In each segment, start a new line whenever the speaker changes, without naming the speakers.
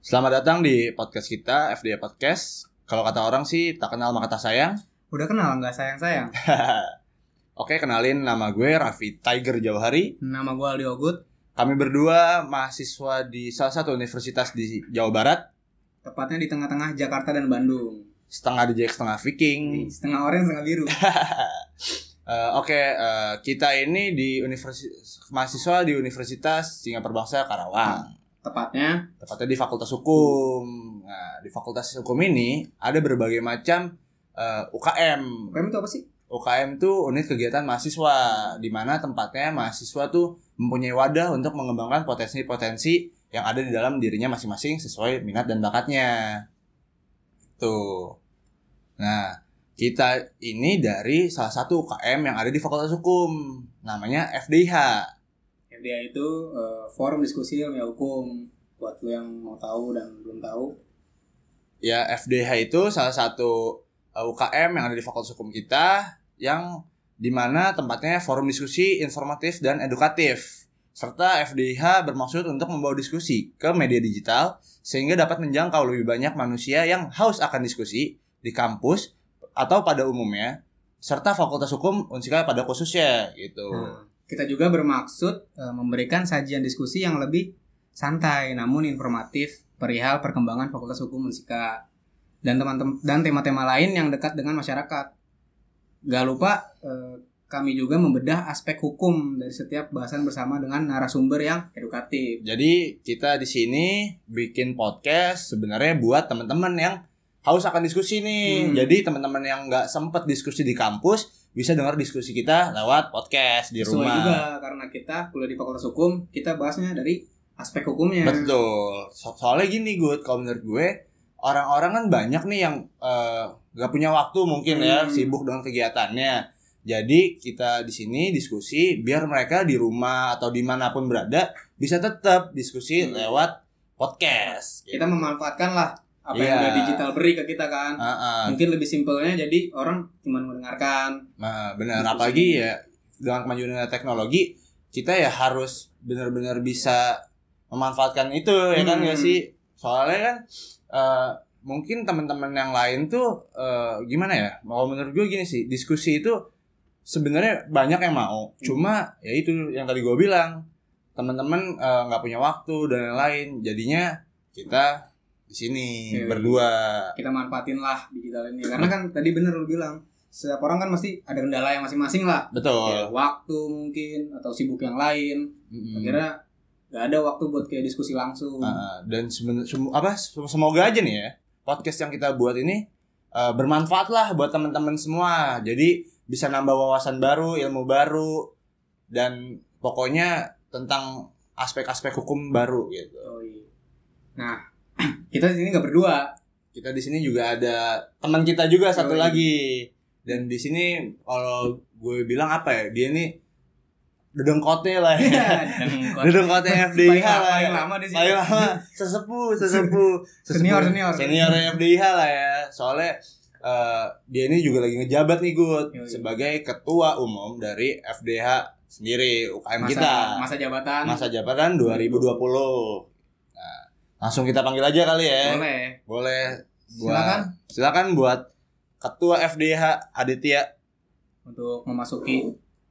Selamat datang di podcast kita, FDA Podcast. Kalau kata orang sih, tak kenal maka tak sayang.
Udah kenal nggak sayang-sayang?
Oke, kenalin nama gue Raffi Tiger Jauhari.
Nama gue Aldi Ogut,
Kami berdua mahasiswa di salah satu universitas di Jawa Barat.
tepatnya di tengah-tengah Jakarta dan Bandung.
Setengah DJ, setengah Viking.
Setengah orange, setengah biru.
Eh, Oke, eh, kita ini di universitas mahasiswa di Universitas Singa Perbangsa Karawang.
Tepatnya,
Tepatnya di Fakultas Hukum. Nah, di Fakultas Hukum ini ada berbagai macam eh, UKM.
UKM itu apa sih?
UKM tuh unit kegiatan mahasiswa di mana tempatnya mahasiswa tuh mempunyai wadah untuk mengembangkan potensi-potensi yang ada di dalam dirinya masing-masing sesuai minat dan bakatnya. Tuh. Nah, kita ini dari salah satu UKM yang ada di Fakultas Hukum, namanya FDIH.
FDA itu eh, forum diskusi ilmiah hukum. Buat lo yang mau tahu dan belum tahu.
Ya, FDIH itu salah satu eh, UKM yang ada di Fakultas Hukum kita yang di mana tempatnya forum diskusi informatif dan edukatif. Serta FDIH bermaksud untuk membawa diskusi ke media digital sehingga dapat menjangkau lebih banyak manusia yang haus akan diskusi di kampus atau pada umumnya serta Fakultas Hukum Unsika pada khususnya gitu.
Nah, kita juga bermaksud eh, memberikan sajian diskusi yang lebih santai namun informatif perihal perkembangan Fakultas Hukum Unsika dan teman-teman dan tema-tema lain yang dekat dengan masyarakat. Gak lupa eh, kami juga membedah aspek hukum dari setiap bahasan bersama dengan narasumber yang edukatif.
Jadi kita di sini bikin podcast sebenarnya buat teman-teman yang haus akan diskusi nih.
Hmm.
Jadi teman-teman yang nggak sempet diskusi di kampus bisa dengar diskusi kita lewat podcast di
Sesuai
rumah.
juga karena kita kuliah di Fakultas Hukum, kita bahasnya dari aspek hukumnya.
Betul. So- soalnya gini gue, kalau menurut gue orang-orang kan banyak nih yang eh, nggak punya waktu mungkin ya,
Hmm.
sibuk dengan kegiatannya. Jadi kita di sini diskusi biar mereka di rumah atau dimanapun berada bisa tetap diskusi
Hmm.
lewat podcast.
Kita memanfaatkan lah apa yang
Iya. Ah.
udah digital beri ke kita kan.
Heeh.
mungkin lebih simpelnya jadi orang cuma mendengarkan
Nah, benar.
Diskusi.
Apalagi ya dengan kemajuan teknologi, kita ya harus benar-benar bisa memanfaatkan itu ya kan
Hmm.
ya sih. Soalnya kan eh, mungkin teman-teman yang lain tuh eh, gimana ya? Mau menurut gue gini sih, diskusi itu sebenarnya banyak yang mau.
Hmm.
Cuma ya itu yang tadi gue bilang, teman-teman eh, nggak punya waktu dan lain-lain. Jadinya kita di sini
Iya.
berdua.
kita manfaatin lah digital ini karena kan tadi bener lu bilang setiap orang kan pasti ada kendala yang masing-masing lah Ya,
Betul.
waktu mungkin atau sibuk yang lain
Mm-mm.
akhirnya nggak ada waktu buat kayak diskusi langsung
Nah, dan seben- sem- apa sem- semoga aja nih ya podcast yang kita buat ini eh, bermanfaat lah buat teman-teman semua. Jadi bisa nambah wawasan baru, ilmu baru dan pokoknya tentang aspek-aspek hukum baru gitu.
Oh, iya. nah kita di sini nggak berdua
Kita di sini juga ada teman kita juga satu
Yoi.
lagi. Dan di sini kalau gue bilang apa ya? Dia ini dedengkotnya lah ya. Dedengkotnya
Iya. Paling
FDIH
lama-
lah.
paling
ya.
lama di sini
Paling lama sesepuh, sesepuh, sesepuh.
Senior, senior.
Senior FDIH lah ya. Soalnya eh, dia ini juga lagi ngejabat nih Gut
Yoi.
sebagai ketua umum dari FDH sendiri UKM
masa,
kita.
masa jabatan
Masa jabatan 2020. Nah, langsung kita panggil aja kali ya.
boleh
Boleh. Buat,
silakan
Silakan buat ketua FDH Aditya
untuk memasuki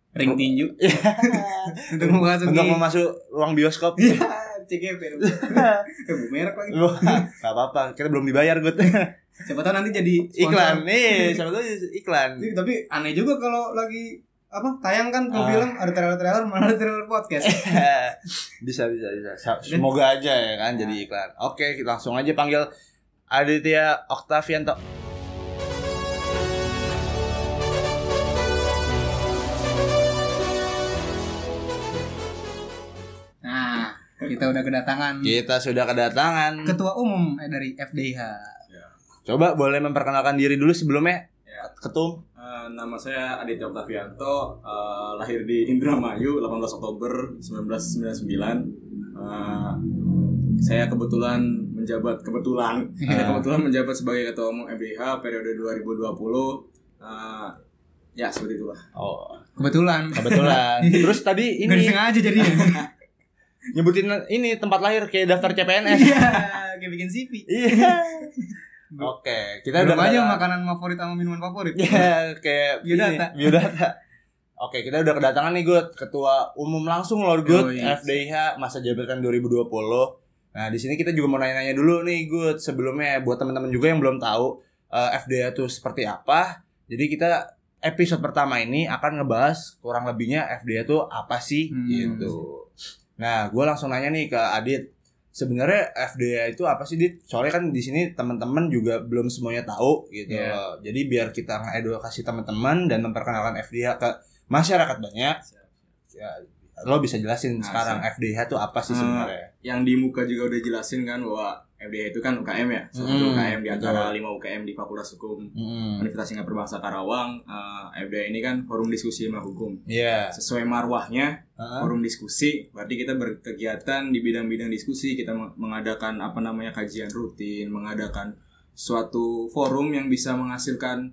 ring tinju
untuk
untuk memasuki
memasuk ruang bioskop.
Iya, CGP dong. Eh, bu, merek lagi.
Wah, nggak apa-apa, kita belum dibayar Gut.
Siapa tahu nanti jadi sponsor.
iklan nih, siapa tahu iklan.
Tapi- Tapi aneh juga kalau lagi apa tayang kan tuh
Ah.
film ada trailer-trailer malah ada trailer podcast.
bisa bisa bisa Sa- semoga aja ya kan jadi iklan oke kita langsung aja panggil Aditya Oktavianto
Nah, kita udah kedatangan
kita sudah kedatangan
ketua umum eh, dari FDH.
coba boleh memperkenalkan diri dulu sebelumnya
Ya.
ketum
Eh, nama saya Aditya Oktavianto, eh, lahir di Indramayu 18 Oktober 1999. Eh, saya kebetulan menjabat kebetulan saya
Iya.
kebetulan menjabat sebagai ketua umum MBH periode 2020. Eh, ya seperti itulah.
oh
Kebetulan.
kebetulan terus tadi
Gak
ini
disengaja jadinya.
nyebutin ini tempat lahir kayak daftar CPNS.
Iya, kayak bikin CV.
Iya. Oke, kita
Belum
udah
aja
kedatangan-
makanan favorit sama minuman favorit.
Iya,
gitu.
kayak
Biodata.
ini, biodata. Oke, kita udah kedatangan nih Gut, ketua umum langsung Lord Gut
Oh, iya.
FDIH masa jabatan 2020. Nah, di sini kita juga mau nanya-nanya dulu nih Gut sebelumnya buat teman-teman juga yang belum tahu eh, FDIH itu seperti apa. Jadi kita episode pertama ini akan ngebahas kurang lebihnya FDIH itu apa sih
Hmm.
gitu. Nah, gue langsung nanya nih ke Adit. Sebenarnya FDA itu apa sih Dit? Soalnya kan di sini teman-teman juga belum semuanya tahu gitu.
Iya.
loh. Jadi biar kita ngedukasi teman-teman dan memperkenalkan FDA ke masyarakat banyak. Ya, lo bisa jelasin
Nah,
sekarang FDH itu apa sih
Eh,
sebenarnya?
yang di muka juga udah jelasin kan bahwa MDH itu kan UKM ya satu
Hmm,
UKM di antara
betul.
lima UKM di Fakultas Hukum
Mm.
Universitas Singapura Berbahasa Karawang Eh, FDH ini kan forum diskusi ilmu hukum
Iya.
sesuai marwahnya
Heeh.
forum diskusi berarti kita berkegiatan di bidang-bidang diskusi kita meng- mengadakan apa namanya kajian rutin mengadakan suatu forum yang bisa menghasilkan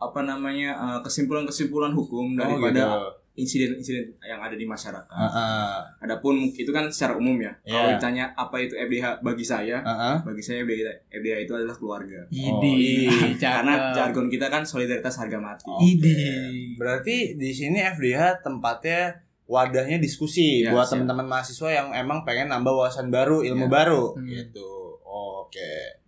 apa namanya eh, kesimpulan-kesimpulan hukum
Oh,
daripada
gitu.
insiden-insiden yang ada di masyarakat.
Heeh.
Adapun itu kan secara umum ya. Kalau
Iya.
ditanya apa itu FDH bagi saya,
Heeh.
bagi saya FDH, FDH itu adalah keluarga.
Oh,
Idi,
Ya, eh,
Karena
cakep.
jargon kita kan solidaritas harga
iya.
mati.
Oh.
Idi.
Berarti di sini FDH tempatnya wadahnya diskusi
Iya,
buat
siap.
teman-teman mahasiswa yang emang pengen nambah wawasan baru, ilmu
Iya.
baru
Hmm.
gitu. Oke.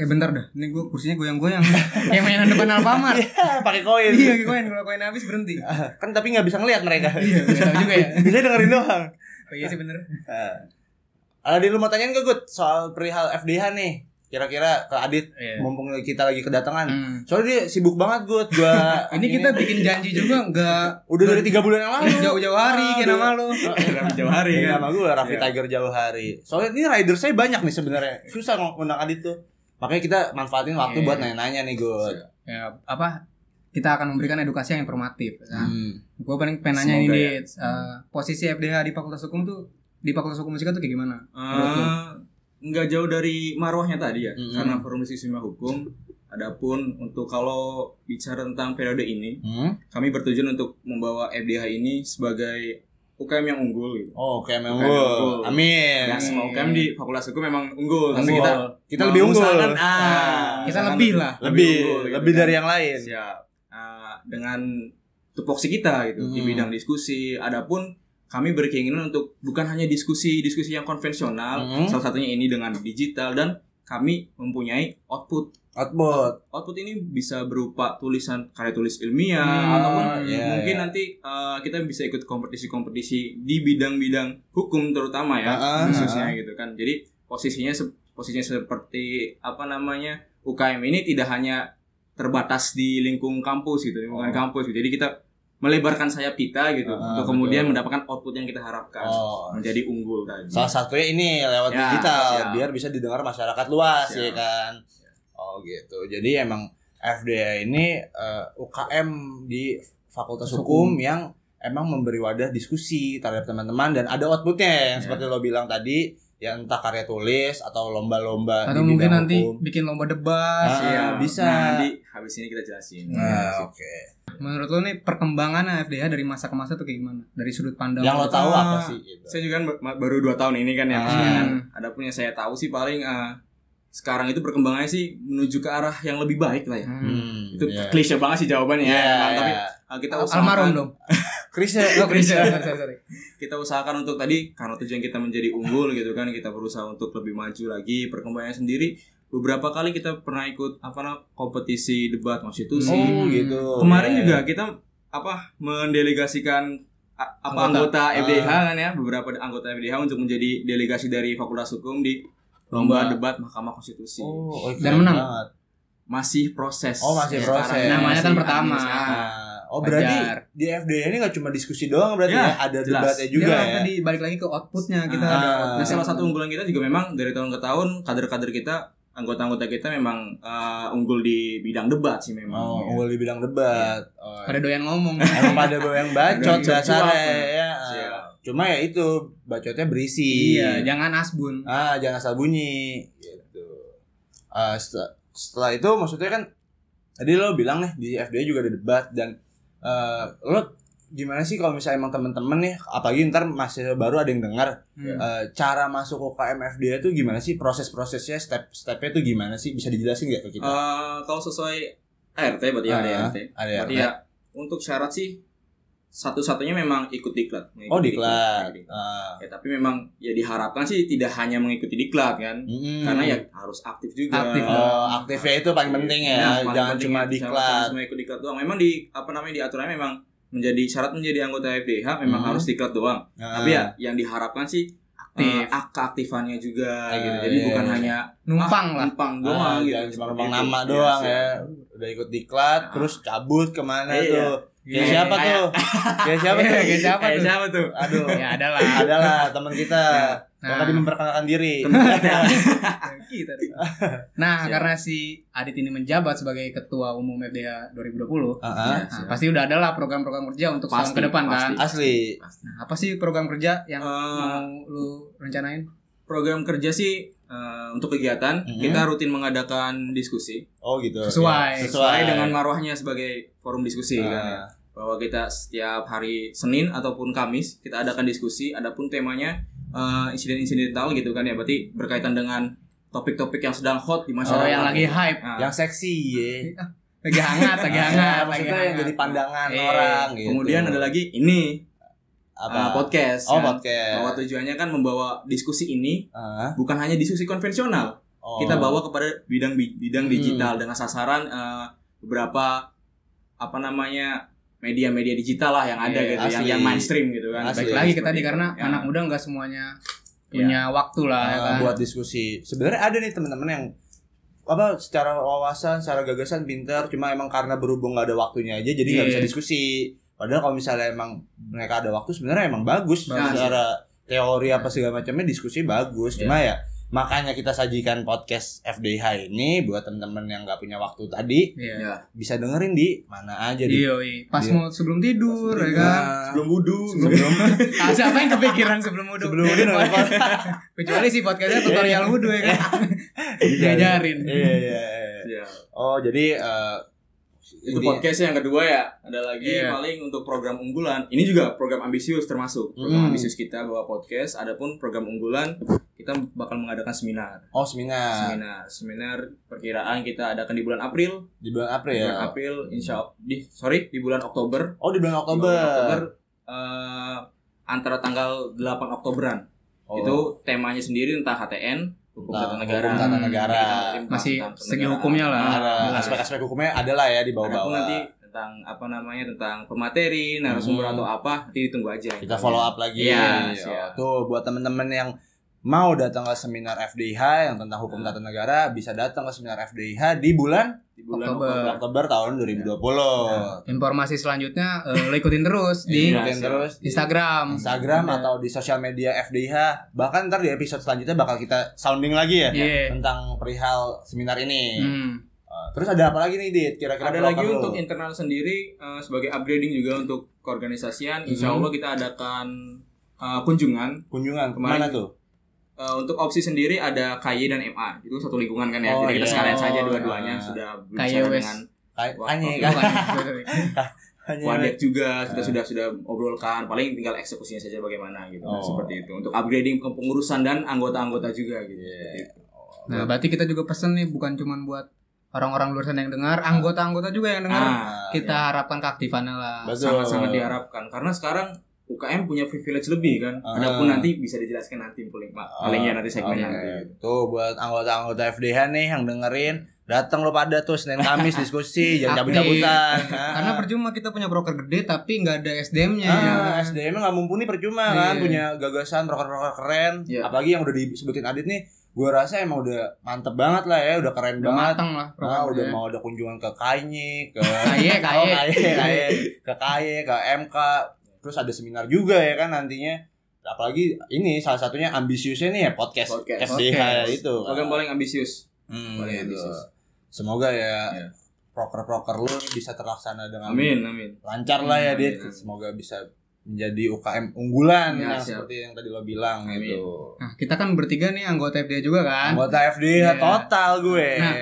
Eh bentar dah, ini gue kursinya goyang-goyang. Kayak mainan depan Alfamart.
Pakai koin.
Iya, kayak koin kalau koin habis berhenti.
kan tapi nggak bisa ngelihat mereka.
Iya, nggak tahu juga ya.
bisa dengerin doang. Nah.
Oh iya sih bener.
Ada lu mau tanyain ke Gut soal perihal FDH nih. Kira-kira ke Adit
Iya.
mumpung kita lagi kedatangan.
Hmm.
Soalnya dia sibuk banget Gut gua.
Ini kita bikin janji juga nggak
udah dari 3 bulan yang lalu.
jauh-jauh hari kayak nama
Aduh. Oh,
lu.
Dalam jauh
Iya,
hari kan.
sama gue Raffi
Iya.
Tiger jauh hari. Soalnya ini rider saya banyak nih sebenarnya. Susah ngundang Adit tuh. Makanya kita manfaatin waktu
Iya.
buat nanya-nanya nih, Gut.
Ya, apa kita akan memberikan edukasi yang informatif. Nah,
Hmm.
Gue paling pengen nanya ini
Semoga
Dit.
ya.
Eh, posisi FDH di Fakultas Hukum tuh di Fakultas Hukum Musika tuh kayak gimana?
Eh, nggak jauh dari marwahnya tadi ya,
Mm-mm.
karena forum diskusi ilmu hukum. Adapun untuk kalau bicara tentang periode ini,
Hmm?
kami bertujuan untuk membawa FDH ini sebagai UKM yang unggul gitu.
Oh, kayak memang
Bukan
gua.
unggul.
Amin.
Ya, semua
Amin.
UKM di Fakultas Hukum memang unggul, tapi
Unggul.
kita
Kita lebih unggul.
mengusahakan, ah,
Ah,
Nah, Kita
sangat
lebih lah.
lebih
unggul gitu
lebih
kan.
dari yang lain.
Siap. Ah, dengan tupoksi kita gitu di
Hmm.
bidang diskusi. Adapun kami berkeinginan untuk bukan hanya diskusi-diskusi yang konvensional,
Hmm.
salah satunya ini dengan digital dan kami mempunyai output.
Output.
Output ini bisa berupa tulisan karya tulis ilmiah
Hmm.
ya, ataupun
Iya,
mungkin
iya.
nanti ah, kita bisa ikut kompetisi-kompetisi di bidang-bidang hukum terutama
Ah,
ya
ah,
khususnya gitu kan. Jadi posisinya se- posisinya seperti apa namanya UKM ini tidak hanya terbatas di lingkung kampus gitu, lingkungan
Oh.
kampus. Gitu. Jadi kita melebarkan sayap kita gitu
Ah,
untuk kemudian
betul.
mendapatkan output yang kita harapkan
Oh.
menjadi unggul tadi.
Salah satunya ini lewat
Ya,
digital
siap.
biar bisa didengar masyarakat luas ya
Siap.
kan. Oh gitu. Jadi emang FDA ini eh, UKM di Fakultas Hukum,
Hukum.
yang emang memberi wadah diskusi terhadap teman-teman dan ada outputnya yang
Ya.
seperti lo bilang tadi ya entah karya tulis atau lomba-lomba
Atau
di
mungkin
bidang
nanti
hukum.
bikin lomba
Ah,
debat. ya.
Siap.
bisa.
Nah, nanti habis ini kita jelasin. Iya,
Nah, oke.
Menurut lo nih perkembangan FDH dari masa ke masa tuh kayak gimana? Dari sudut pandang
Yang lo
lo. Hmm.
tahu
Ah,
apa sih gitu.
Saya juga kan ba- baru dua tahun ini kan ya.
Ah.
maksudnya kan. Adapun yang saya tahu sih paling eh, sekarang itu perkembangannya sih menuju ke arah yang lebih baik lah ya.
Hmm.
Hmm,
Itu
ya.
klise banget sih jawabannya
Ya,
ya. kan?
ya.
Tapi eh, kita usahakan
Almarhum dong.
Krisnya
Oh, Chris, sorry, sorry, sorry.
kita usahakan untuk tadi karena tujuan kita menjadi unggul gitu kan kita berusaha untuk lebih maju lagi perkembangannya sendiri beberapa kali kita pernah ikut apa namanya kompetisi debat konstitusi
Oh gitu.
kemarin
Ya.
juga kita apa mendelegasikan a- apa
Anggota.
Ah.
anggota, FDH kan ya beberapa anggota FDH untuk menjadi delegasi dari Fakultas Hukum di lomba
Lomba.
debat Mahkamah Konstitusi
Oh, oke.
Dan menang.
Banget.
masih proses
Oh, masih
Sekarang Nah,
proses.
ini
Namanya kan
masih
pertama.
administrasi.
Nah, oh berarti
Wajar.
di FDI ini nggak cuma diskusi doang berarti
Ya,
ya, ada
jelas.
debatnya
Dia
juga ya.
tadi balik lagi ke outputnya kita
Ah.
ada
Nah,
outputnya.
salah satu unggulan kita juga memang dari tahun ke tahun kader-kader kita, anggota-anggota kita memang eh, unggul di bidang debat sih memang.
Oh, unggul di bidang debat. Oh,
Pada doyan ngomong.
Emang pada yang bacot
Ada yang
dasarnya
cuap.
ya.
Siap.
Cuma ya itu bacotnya berisi.
iya, jangan asbun.
Ah, jangan asal bunyi gitu. Ah, setelah, setelah itu maksudnya kan tadi lo bilang nih di FDA juga ada debat dan eh, lo gimana sih kalau misalnya emang temen-temen nih apalagi ntar masih baru ada yang dengar
Hmm.
eh, cara masuk UKM FDA itu gimana sih proses-prosesnya step-stepnya itu gimana sih bisa dijelasin nggak ke kita?
Eh, kalau sesuai ART berarti ya,
Ah,
ada ART.
ada ya.
Berarti ya untuk syarat sih satu-satunya memang ikut diklat. mengikuti
Oh diklat.
mengikuti
Ah.
Ya, tapi memang ya diharapkan sih tidak hanya mengikuti diklat kan.
Mm-mm.
Karena ya harus aktif juga.
Aktif.
Oh, aktifnya itu Hmm. paling penting ya,
Nah, paling
jangan
penting
cuma
ya, jangan
diklat.
cuma ikut diklat doang. Memang di apa namanya di aturannya memang menjadi syarat menjadi anggota FDH memang
Mhm.
harus diklat doang.
Nah,
Tapi ya yang diharapkan sih
Aktif.
eh, keaktifannya juga
Ah,
gitu. Jadi
iya,
bukan
iya.
hanya
numpang
ah,
lah.
numpang
ah,
doang gitu.
jangan cuma
Seperti
numpang
itu.
nama
Iya,
doang
sih.
ya. Udah ikut diklat,
Ah.
terus cabut kemana
Iya.
tuh? Kayak
Iya.
siapa
Kayak-
tuh? Kayak siapa tuh?
Kayak siapa
Eh,
tuh?
siapa tuh? Iya.
Aduh,
Ya ada lah.
adalah teman kita. Yang
Nah,
tadi memperkenalkan diri.
kita dong. nah
Siap.
karena si Adit ini menjabat sebagai ketua umum FDH 2020,
Ah, ah.
Iya,
nah,
siap.
pasti udah ada lah program-program kerja untuk tahun
Pasti,
ke depan
pasti.
kan.
Asli.
Nah, apa sih program kerja yang
Eh,
mau lu rencanain?
program kerja sih eh, untuk kegiatan
Mhm.
kita rutin mengadakan diskusi
Oh gitu. Ya,
Sesuai.
sesuai.
sesuai dengan marwahnya sebagai forum
Ah.
diskusi kan ya. bahwa kita setiap hari Senin ataupun Kamis kita adakan diskusi adapun temanya eh, insiden-insiden tahun gitu kan ya berarti berkaitan dengan topik-topik yang sedang hot di masyarakat
Oh yang lagi hype,
Nah,
yang seksi ya.
lagi hangat, lagi hangat, lagi
Ah, iya, maksudnya yang
hangat.
jadi pandangan
Iya.
orang gitu.
kemudian ada lagi ini
apa?
eh, podcast
Oh,
kan.
podcast.
bahwa tujuannya kan membawa diskusi ini
Ah,
bukan hanya diskusi konvensional
oh.
kita bawa kepada bidang bidang
Hmm.
digital dengan sasaran eh, beberapa apa namanya media-media digital lah yang ada
Iya,
gitu yang
asli.
yang mainstream gitu kan
Asli.
Baik
Iya,
lagi ke
kita
tadi karena anak muda nggak semuanya punya waktu lah ya
Ah,
kan.
buat diskusi. Sebenarnya ada nih teman-teman yang apa secara wawasan, secara gagasan pintar, cuma emang karena berhubung gak ada waktunya aja jadi nggak
Iya.
bisa diskusi. Padahal kalau misalnya emang mereka ada waktu sebenarnya emang bagus
Bagus.
secara teori apa segala macamnya diskusi bagus. Cuma ya makanya kita sajikan podcast FDH ini buat teman-teman yang nggak punya waktu tadi
Iya.
ya.
bisa dengerin di mana aja di
Iya, iya. pas
Iya.
mau sebelum tidur ya
Nah,
kan.
Iya. sebelum wudhu
sebelum
Ah, siapa yang kepikiran sebelum wudhu?
sebelum Iya, ini
Iya.
Kecuali sih podcastnya tutorial wudhu ya kan. Diajarin.
Iya iya. iya.
Ya.
Oh jadi eh,
itu
intinya-
podcast yang kedua ya ada lagi
Iya.
paling untuk program unggulan ini juga program ambisius termasuk
Hmm.
program ambisius kita bawa podcast adapun program unggulan kita bakal mengadakan seminar
Oh seminar
seminar seminar perkiraan kita adakan di bulan April
di bulan April
Di
ya.
bulan April insya Allah di sorry di bulan Oktober
Oh di bulan
Di
Oktober.
bulan Oktober eh, antara tanggal 8 Oktoberan
Oh.
itu temanya sendiri tentang HTN hukum
Tentang
tata negara
hukum
tata
negara.
Masih segi hukumnya lah.
ada
Jelas.
aspek-aspek hukumnya ada lah ya di
Ada pun
bawah-bawah.
nanti tentang apa namanya tentang pemateri narasumber
Hmm.
atau apa nanti ditunggu aja ya.
Kita follow up lagi.
Iya,
Oh,
siap.
Tuh buat temen-temen yang mau datang ke seminar FDH yang tentang hukum tata negara bisa datang ke seminar FDH di bulan
di bulan
Oktober.
Oktober,
Oktober tahun 2020.
Informasi selanjutnya eh, lo ikutin terus di
Iya.
Ikutin
siap.
terus di
Instagram.
Instagram
Iya.
atau di sosial media FDH. Bahkan ntar di episode selanjutnya bakal kita sounding lagi ya
Iya.
tentang perihal seminar ini.
Hmm.
Uh, Terus ada apa lagi nih, Dit? Kira-kira
ada
proker
lagi
lu?
untuk internal sendiri eh, sebagai upgrading juga untuk keorganisasian insya
Mhm.
Allah kita adakan eh, kunjungan
kunjungan kemana
Kemarin-
tuh?
Eh, untuk opsi sendiri ada KY dan MA itu satu lingkungan kan ya
Oh,
jadi kita
iya.
sekalian saja
Oh,
dua-duanya
iya.
sudah
KY
berbicara
wes.
dengan
Kay-
Wah,
Kanye,
oke.
kan?
Bukan.
Kanye.
wadet juga kita
Ah.
sudah sudah obrolkan paling tinggal eksekusinya saja bagaimana gitu
Oh.
seperti itu untuk upgrading kepengurusan dan anggota-anggota juga gitu
Iya.
Seperti itu.
Nah, berarti kita juga pesen nih bukan cuman buat orang-orang luar sana yang dengar, anggota-anggota juga yang dengar.
Ah,
Nah, iya.
kita harapkan keaktifannya lah.
Betul.
sangat-sangat diharapkan karena sekarang UKM punya privilege lebih kan
Ah.
adapun nanti bisa dijelaskan nanti paling paling ya nanti segmennya
Oke.
nanti.
Tuh buat anggota-anggota FDH nih yang dengerin, datang lo pada tuh Senin Kamis diskusi, jangan
Aktif.
cabut-cabutan. Nah.
Karena percuma kita punya broker gede tapi nggak ada SDM-nya. ya
Ah,
kan?
SDM nggak mumpuni percuma kan
Iya.
punya gagasan proker-proker keren
Iya.
apalagi yang udah disebutin Adit nih gue rasa emang udah mantep banget lah ya udah keren
Udah
banget
matang lah
Nah, udah
ya.
programnya.
mau ada kunjungan ke Kanye, ke
Kaye,
Oh,
kaye.
Kaye, Kaye. ke Kaye, ke MK, terus ada seminar juga ya kan nantinya. Apalagi ini salah satunya ambisiusnya nih ya podcast,
Podcast.
FDH
Podcast.
itu. kan.
program paling ambisius
Hmm,
paling
gitu.
ambisius
Semoga ya
Iya.
proker-proker lu bisa terlaksana dengan
amin amin
lancar lah ya,
Amin,
Dit.
Hmm.
amin.
Semoga bisa menjadi UKM unggulan
Ya,
yang
siap.
seperti yang tadi lo bilang
Amin.
gitu.
Nah, kita kan bertiga nih anggota FDA juga kan.
Anggota FDH
Iya.
total gue.
Nah,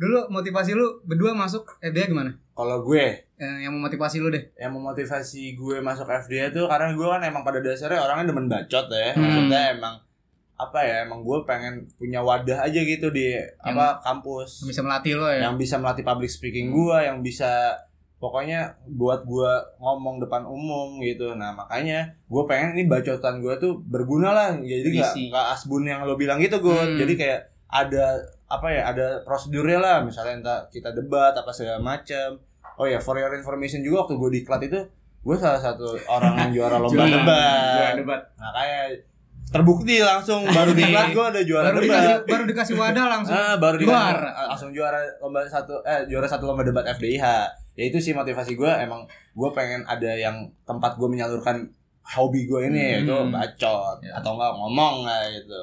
Dulu motivasi lu berdua masuk FDA gimana?
Kalau gue
Eh, yang memotivasi lu deh.
yang memotivasi gue masuk FDA tuh karena gue kan emang pada dasarnya orangnya demen bacot ya.
Hmm.
Maksudnya emang apa ya emang gue pengen punya wadah aja gitu di apa kampus
Yang bisa melatih lo ya.
yang bisa melatih public
Hmm.
speaking gua yang bisa pokoknya buat gua ngomong depan umum gitu nah makanya gue pengen ini bacotan gua tuh berguna lah jadi nggak
Berisi.
nggak asbun yang lo bilang gitu gue
Hmm.
jadi kayak ada apa ya ada prosedurnya lah misalnya entah kita debat apa segala macam oh ya for your information juga waktu gue diklat itu gue salah satu orang yang juara lomba
Juara-
debat
juara debat.
makanya terbukti langsung baru diklat gue ada juara
Baru
debat
dikasih baru dikasih wadah langsung.
ya. Ah, baru di
Juara.
langsung juara lomba satu eh juara satu lomba debat FDIH. Ya itu sih motivasi gue emang gue pengen ada yang tempat gue menyalurkan hobi gue ini
Hmm.
yaitu bacot
Ya.
atau enggak ngomong lah gitu.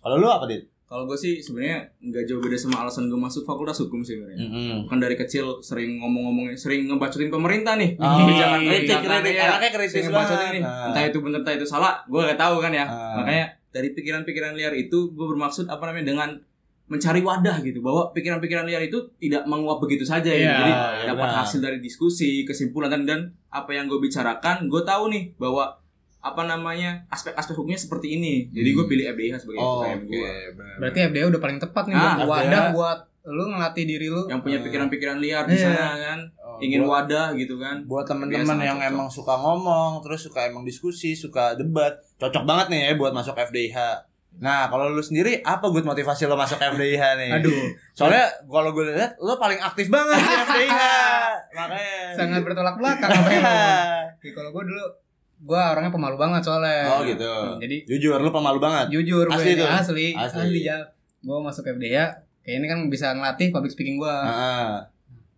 Kalau lu apa dit?
Kalau gue sih sebenarnya nggak jauh beda sama alasan gue masuk fakultas hukum sih
Hmm.
sebenarnya. Kan dari kecil sering ngomong-ngomong, sering ngebacotin pemerintah nih.
Oh,
Kebijakan-
kritik,
kebijakan
kritik.
ya.
Anaknya kritis
Sering
banget.
ngebacotin nih.
Ah.
Entah itu bener, entah itu salah, gue gak tahu kan ya.
Ah.
Makanya dari pikiran-pikiran liar itu gue bermaksud apa namanya dengan mencari wadah gitu bahwa pikiran-pikiran liar itu tidak menguap begitu saja ya.
Iya,
Jadi
iya
dapat
benar.
hasil dari diskusi, kesimpulan dan, dan apa yang gue bicarakan, gue tahu nih bahwa apa namanya aspek-aspek hukumnya seperti ini. Jadi gue pilih FDIH sebagai
Oh,
UKM
oke,
gue.
benar.
Berarti FDA udah paling tepat nih
Ah,
buat
FDA.
wadah buat lu ngelatih diri lu.
Yang punya
Ah.
pikiran-pikiran liar di
Iya.
sana kan,
Oh,
ingin
buat-
wadah gitu kan.
buat temen-temen
Biasa,
yang
cocok.
emang suka ngomong terus suka emang diskusi suka debat cocok banget nih ya buat masuk FDIH nah kalau lu sendiri apa good motivasi lo masuk FDIH nih
Aduh,
Soalnya kalau gue lihat lo paling aktif banget di FDIH. Makanya.
sangat bertolak belakang apa yang lu ngomong. Jadi Kalau gue dulu gue orangnya pemalu banget soalnya.
oh gitu.
Jadi
Jujur lo pemalu banget.
jujur gue
Asli
ini,
tuh?
asli
Asli.
asli, gue masuk FDA kayak ini kan bisa ngelatih public speaking gue
Heeh.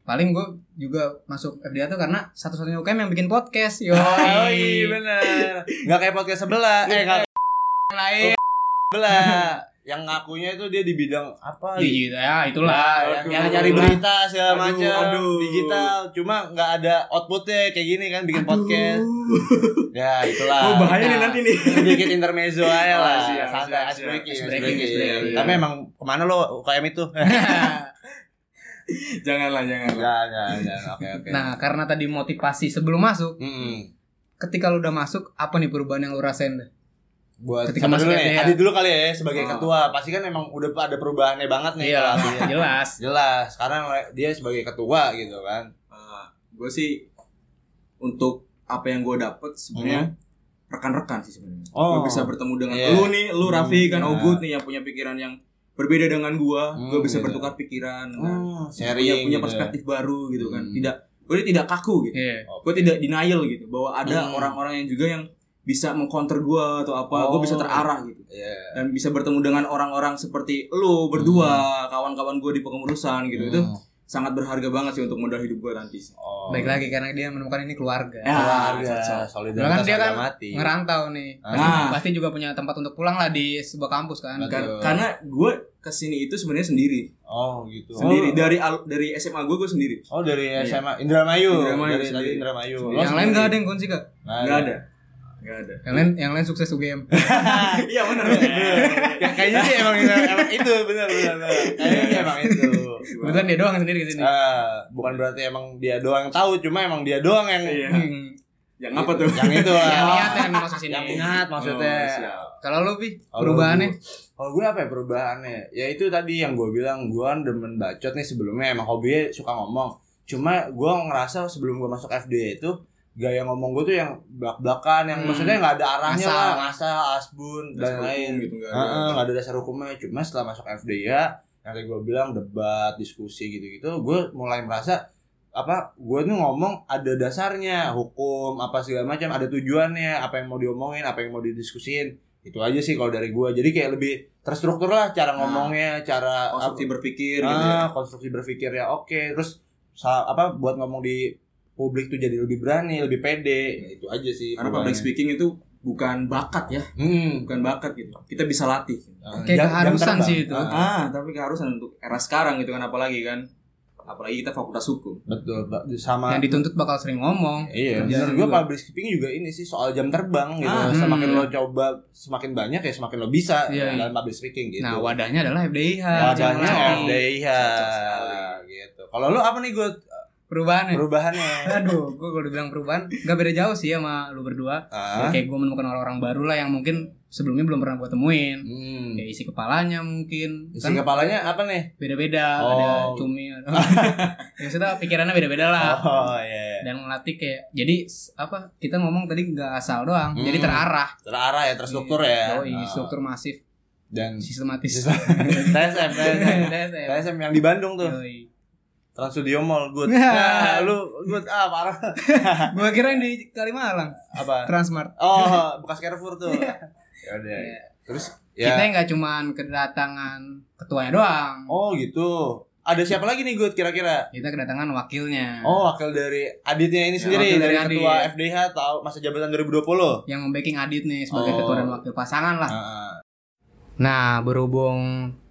paling gue juga masuk FDA tuh karena satu-satunya UKM yang bikin podcast yo
Oh iya bener. Gak kayak podcast sebelah. Eh gak kayak
yang lain
sebelah. Yang ngakunya itu dia di bidang apa? gitu.
Di- ya itulah
Ya,
aduh.
yang nyari berita segala
Aduh,
macam
aduh.
digital cuma nggak ada outputnya kayak gini kan bikin podcast ya itulah
Oh bahaya nih
Nah.
nanti nih.
sedikit intermezzo aja lah
Iya,
Oh, siap,
santai
siap,
ice breaking
siap.
ice
Ice breaking,
breaking.
ice breaking. iya.
tapi emang kemana lo UKM itu
Janganlah, janganlah.
ya ya ya oke oke
nah karena tadi motivasi sebelum masuk
Mm-mm.
ketika lu udah masuk apa nih perubahan yang lu rasain deh
buat
Ketika
sama
masuk
dulu nih
FDA.
Adi dulu kali ya sebagai
Oh.
ketua pasti kan emang udah ada perubahannya banget nih
Iya,
kalau Adi. ya.
jelas
jelas sekarang dia sebagai ketua gitu kan
gue Eh, sih untuk apa yang gue dapet sebenarnya rekan-rekan sih sebenarnya.
Hmm. Oh.
Gue bisa bertemu dengan
Iya.
lu nih, lu Raffi
Hmm,
kan
iya.
Ogut nih yang punya pikiran yang berbeda dengan gue.
Hmm,
gue bisa
iya.
bertukar pikiran, kan.
oh,
punya,
sharing
punya
gitu.
perspektif baru gitu kan.
Hmm.
Tidak, gue tidak kaku gitu.
Iya.
Gue tidak denial gitu bahwa ada
Hmm.
orang-orang yang juga yang bisa mengcounter gue atau apa.
Oh.
Gue bisa terarah gitu
Iya.
dan bisa bertemu dengan orang-orang seperti lu berdua, kawan-kawan gue di pengurusan gitu itu
Hmm.
sangat berharga banget sih untuk modal hidup gue nanti. sih.
oh.
baik lagi karena dia menemukan ini keluarga
Ya.
keluarga
Cocok.
solidaritas
Kan dia
harga
kan
mati
ngerantau nih
Iya. Ah.
Pasti- pasti juga punya tempat untuk pulang lah di sebuah kampus kan
Betul.
Kar- karena gue kesini itu sebenarnya sendiri,
oh gitu oh,
sendiri dari al- dari SMA gue gue sendiri,
oh, dari
Iya.
SMA Indramayu
Indramayu
dari tadi
sendiri.
Indramayu
Sendiri.
Lo
yang lain gak ada
sendiri?
yang kunci kak
Ah,
nggak
iya.
ada, nggak ada.
yang lain yang lain sukses UGM
Ah.
Iya benar.
ya, kayaknya sih emang emang itu benar benar benar. kayaknya sih emang itu
kebetulan dia doang sendiri kesini
Ah, bukan berarti emang dia doang yang tahu cuma emang dia doang yang
Iya.
Hmm.
Yang apa tuh? ya.
yang itu lah
yang lihat yang masuk sini
Ah. yang ingat Gitu. maksudnya
Oh, siap.
kalau lu pi
Kalau
perubahannya
gue- kalau gue apa ya perubahannya ya itu tadi yang gue bilang gue kan demen bacot nih sebelumnya emang hobinya suka ngomong cuma gue ngerasa sebelum gue masuk FD itu gaya ngomong gue tuh yang belak belakan yang
Hmm.
maksudnya nggak ada arahnya
Asal.
lah ngasal asbun
Dasar
dan Ah,
hukum
lain
gitu nggak ada.
Heeh, nggak ada dasar hukumnya cuma setelah masuk FD ya yang tadi gue bilang debat diskusi gitu-gitu gue mulai merasa apa gue tuh ngomong ada dasarnya hukum apa segala macam ada tujuannya apa yang mau diomongin apa yang mau didiskusin itu aja sih kalau dari gue jadi kayak lebih terstruktur lah cara
Nah,
ngomongnya cara
Konstruktif berpikir gitu
ah,
ya.
konstruksi berpikir ya oke terus sa- apa buat ngomong di publik tuh jadi lebih berani lebih pede Ya, itu aja sih
Karena public
perubahannya.
speaking itu bukan bakat ya,
Hmm.
bukan bakat gitu. Kita bisa latih.
Ah, jam-
Kayak
jam
keharusan
terbang.
sih itu.
Ah.
Ah, tapi keharusan untuk era sekarang gitu kan apalagi kan. apalagi kita fakultas hukum
Betul, Pak. sama
yang dituntut bakal sering ngomong
Iya,
Kerjaan
menurut gue
juga.
public speaking juga ini sih soal jam terbang gitu.
Ah,
semakin
hmm.
lo coba, semakin banyak ya semakin lo bisa
Iya,
dalam public speaking gitu.
nah wadahnya adalah FDIH Jangan
wadahnya
lagi.
FDIH
Cocok sekali.
gitu. Kalau lo apa nih gue
perubahan ya
perubahannya?
aduh gue kalau dibilang perubahan nggak beda jauh sih sama lu berdua
Ah.
Ya, kayak gue menemukan orang-orang baru lah yang mungkin sebelumnya belum pernah gue temuin
Hmm.
kayak isi kepalanya mungkin
Isi
kan
kepalanya apa nih?
beda-beda
Oh.
ada cumi ada- ya maksudnya pikirannya beda-beda lah
Oh iya.
dan ngelatih kayak jadi s- apa kita ngomong tadi nggak asal doang
Hmm.
jadi terarah
Terarah ya, terstruktur ya.
Iya. Yoi,
Ah.
struktur masif
Dan
sistematis
Sistem- TSM, TSM.
TSM.
TSM yang di Bandung tuh.
Yoi.
Trans Studio Mall good.
Ya.
Nah, lu good ah parah.
gua kira yang di Kalimalang
Apa?
Transmart
Oh, bekas Carrefour tuh. ya udah.
Iya.
Terus ya.
kita nggak cuman kedatangan ketuanya doang
Oh, gitu. Ada siapa lagi nih good kira-kira?
kita kedatangan wakilnya
Oh, wakil dari aditnya ini
Hmm. Ya,
sendiri
wakil
dari,
dari
ketua
Adit.
FDH tahun masa jabatan 2020.
yang membacking Adit nih
Oh. Ah,
sebagai ketua dan wakil pasangan lah
Heeh.
Nah, berhubung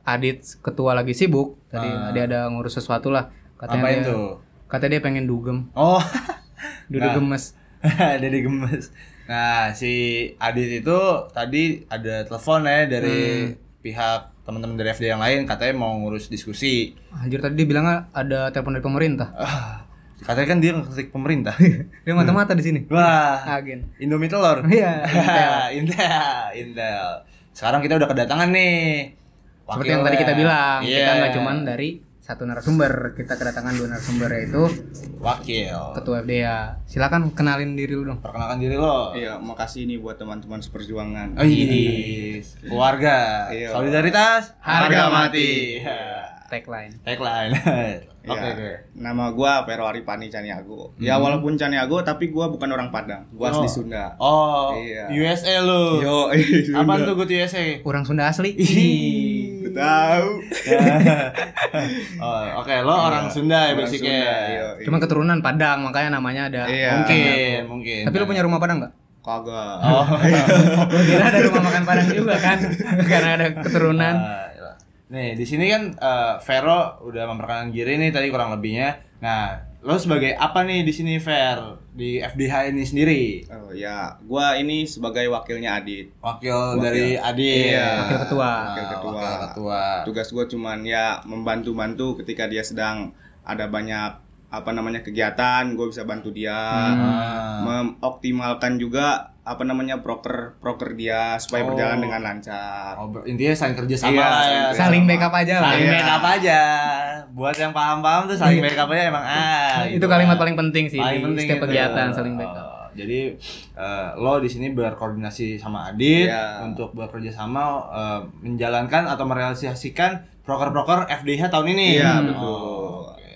Adit ketua lagi sibuk, tadi
Ah.
dia ada ngurus sesuatu lah. Katanya ya.
Ngapain
dia,
tuh?
Katanya dia pengen dugem,
Oh,
duduk
Nah.
gemes.
dari gemes. Nah, si Adit itu tadi ada telepon ya
Hmm.
dari pihak teman-teman dari FD yang lain katanya mau ngurus diskusi.
Anjir tadi dia bilang ada telepon dari pemerintah.
Ah, katanya kan dia ngekritik pemerintah.
Dia
Hmm.
mata-mata di sini.
Wah,
Agen.
Indomie telur.
Ah. Iya. Intel.
Intel, Intel. Sekarang kita udah kedatangan nih.
Seperti yang tadi kita
Wakilnya.
bilang, kita
Iya.
nggak cuman dari satu narasumber, kita kedatangan dua narasumber yaitu
wakil.
ketua FDA. Silakan kenalin diri lu dong.
Perkenalkan diri lo.
Iya, makasih nih buat teman-teman seperjuangan.
Oh iya, keluarga,
Iya.
solidaritas,
Harga
mati. Iya.
Tagline.
Tagline.
Iya.
Oke, oke.
Nama gua Vero Aripani Caniago. Ya
Hmm.
walaupun Caniago tapi gua bukan orang Padang. Gua asli
Oh.
Sunda.
Oh,
Iya.
USA lu.
Yo,
Apaan tuh good USA?
Orang Sunda asli.
Ih.
Tahu.
Iya.
oh, oke, lo orang Sunda ya
Orang
basicnya.
Sunda, iya, iya.
Cuma keturunan Padang, makanya namanya ada.
Iya.
Mungkin, mungkin.
Tapi lu punya rumah Padang nggak?
kagak.
Oh.
Gua kira ada rumah makan Padang juga kan karena ada
kan?
keturunan
Ah, iya. Nih, di sini kan eh, Vero udah memperkenalkan diri nih tadi kurang lebihnya. Nah, lo sebagai apa nih di sini Ver di FDH ini sendiri?
Oh, ya, gua ini sebagai wakilnya Adit.
Wakil, dari Adit.
Iya.
Wakil ketua.
Wakil ketua.
Wakil ketua.
Tugas gua cuman ya membantu-bantu ketika dia sedang ada banyak apa namanya kegiatan, gua bisa bantu dia.
Ah.
Memoptimalkan juga apa namanya proker proker dia
Oh.
supaya berjalan dengan lancar.
Oh, ber- intinya saling kerja sama lah
Iya,
ya.
saling kerja
saling backup aja lah
Saling
Iya.
backup aja. Buat yang paham-paham tuh saling backup aja emang ah.
Iya. itu
gitu.
kalimat paling penting sih
Paling
di
penting
setiap
itu. ya.
kegiatan saling backup
Oh, jadi eh, lo di sini berkoordinasi sama Adit
Iya.
untuk bekerja sama eh, menjalankan atau merealisasikan proker-proker FDH tahun ini.
Iya,
Hmm.
betul.
oke.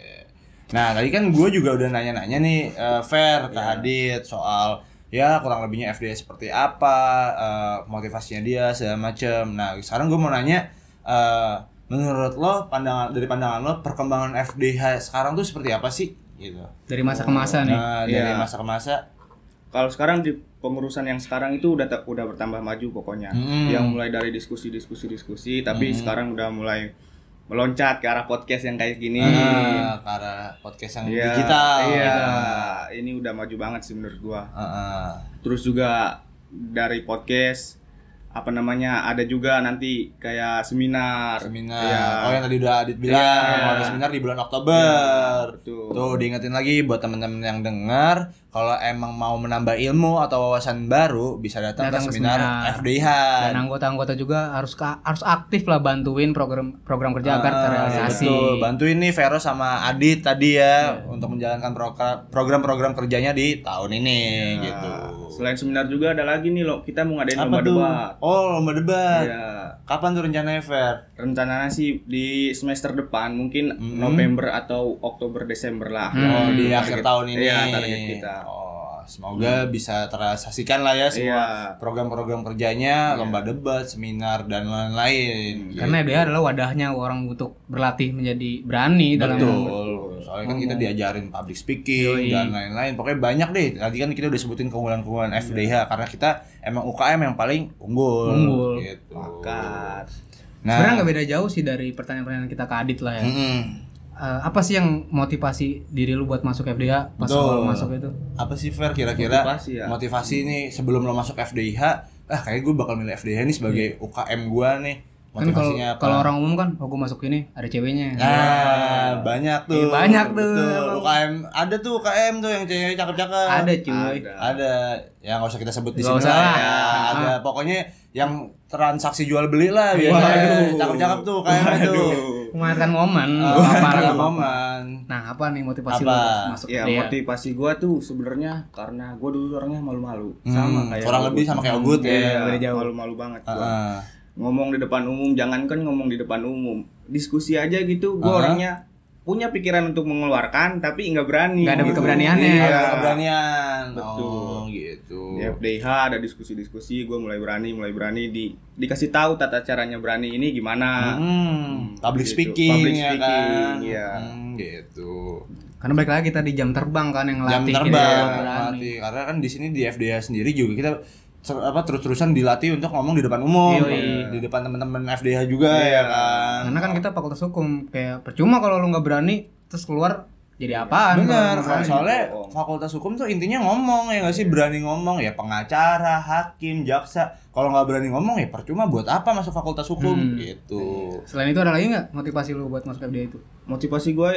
Nah tadi kan gue juga udah nanya-nanya nih eh, Fer ke
Iya.
Adit soal ya kurang lebihnya FDH seperti apa, eh, motivasinya dia segala macem. Nah sekarang gue mau nanya. eh, menurut lo pandangan dari pandangan lo perkembangan FDH sekarang tuh seperti apa sih gitu
dari masa ke masa nih
Nah, dari
Iya.
masa ke masa.
kalau sekarang di pengurusan yang sekarang itu udah te- udah bertambah maju pokoknya
Hmm.
yang mulai dari diskusi diskusi diskusi tapi
Hmm.
sekarang udah mulai meloncat ke arah podcast yang kayak gini
Ah, karena podcast yang
Iya,
digital.
iya
gitu.
ini udah maju banget sih menurut gua
Ah, ah.
terus juga dari podcast apa namanya ada juga nanti kayak seminar
seminar.
Iya.
Oh yang tadi udah Adit bilang
Iya.
mau ada seminar di bulan Oktober.
betul
Tuh diingetin lagi buat teman-teman yang dengar kalau emang mau menambah ilmu atau wawasan baru bisa datang,
Datang
ke
ke
seminar,
seminar.
FDH.
dan anggota-anggota juga harus ka- harus aktif lah bantuin program program kerja agar
Ah,
terrealisasi
betul. Bantuin nih Vero sama Adit tadi ya
Iya.
untuk menjalankan proker- program-program kerjanya di tahun ini gitu.
Nah, selain seminar juga ada lagi nih loh kita mau ngadain
Apa
lomba
tuh?
debat
Oh, lomba debat.
Iya.
Kapan tuh rencananya, Fer?
rencananya sih di semester depan mungkin
Hmm.
November atau Oktober Desember lah. Nah,
Oh,
Hmm.
di akhir tahun ini.
Iya, target kita. Hmm.
Oh, semoga bisa terrealisasikan lah ya semua
Iya.
program-program kerjanya, lomba debat, seminar dan
Hmm,
lain-lain.
karena
iya.
dia adalah wadahnya orang untuk berlatih menjadi berani dalam
Betul. Soalnya kan
Hmm.
kita diajarin public speaking
Yoi.
dan lain-lain. Pokoknya banyak deh. Tadi kan kita udah sebutin keunggulan-keunggulan
Iya.
FDH karena kita emang UKM yang paling unggul.
Unggul.
Gitu.
Sepakat.
Nah, Hmm.
sebenarnya nggak beda jauh sih dari pertanyaan-pertanyaan kita ke Adit lah ya
mm-mm.
eh, apa sih yang motivasi diri lu buat masuk FDH pas
Betul.
awal masuk itu?
Apa sih Fer kira-kira
Motivasi ya.
Iya.
motivasi nih sebelum lo masuk FDIH ah kayak gue bakal milih FDIH nih sebagai UKM gue nih
Iya. Kan kalau
motivasinya apa
kalau orang umum kan, oh gue masuk ini ada ceweknya.
nah banyak tuh
Iya, banyak tuh.
Betul, UKM ada tuh UKM tuh yang cewek cakep-cakep
Ada cuy.
Iya, Ada.
ada ya nggak usah kita sebut di
Nggak
sini
usah
lah
lah. Ah.
ya ada pokoknya yang transaksi jual beli lah
Waduh.
biasanya cakep-cakep tuh UKM itu
Menghantarkan momen,
Ah,
apa
ada
apa.
momen
Nah, apa nih motivasi
Apa?
lu buat masuk
Ya
FDH?
motivasi gua tuh sebenarnya karena gua dulu orangnya malu-malu
Hmm, kurang
Ogut.
lebih sama kayak Ogut ya.
Iya,
Beda jauh.
malu-malu banget
Ah,
gua.
ah.
ngomong di depan umum jangankan ngomong di depan umum diskusi aja gitu gue
Aha.
orangnya punya pikiran untuk mengeluarkan tapi nggak berani
Nggak ada
gitu.
keberaniannya.
Iya.
Ada keberanian
Betul.
oh, gitu
di
Iya,
FDH ada diskusi-diskusi gue mulai berani mulai berani di dikasih tahu tata caranya berani ini gimana
Hmm, public
gitu.
speaking,
Public
ya
speaking,
kan?
iya.
Hmm, gitu.
Karena balik lagi tadi jam terbang kan yang
Jam
latih
terbang
buat berani.
latih. karena kan di sini di FDA sendiri juga kita ter- apa terus-terusan dilatih untuk ngomong di depan umum,
Yoi.
di depan teman-teman FDH juga
Iya.
ya kan.
Iya, Karena kan kita fakultas hukum kayak percuma kalau lu nggak berani terus keluar jadi apaan?
Bener,
Kalau- Iya.
kan? soalnya
bohong.
fakultas hukum tuh intinya ngomong ya nggak sih berani ngomong ya pengacara, hakim, jaksa. Kalau nggak berani ngomong ya percuma buat apa masuk fakultas hukum
Hmm.
gitu.
Selain itu ada lagi nggak motivasi lu buat masuk FDA itu?
motivasi gue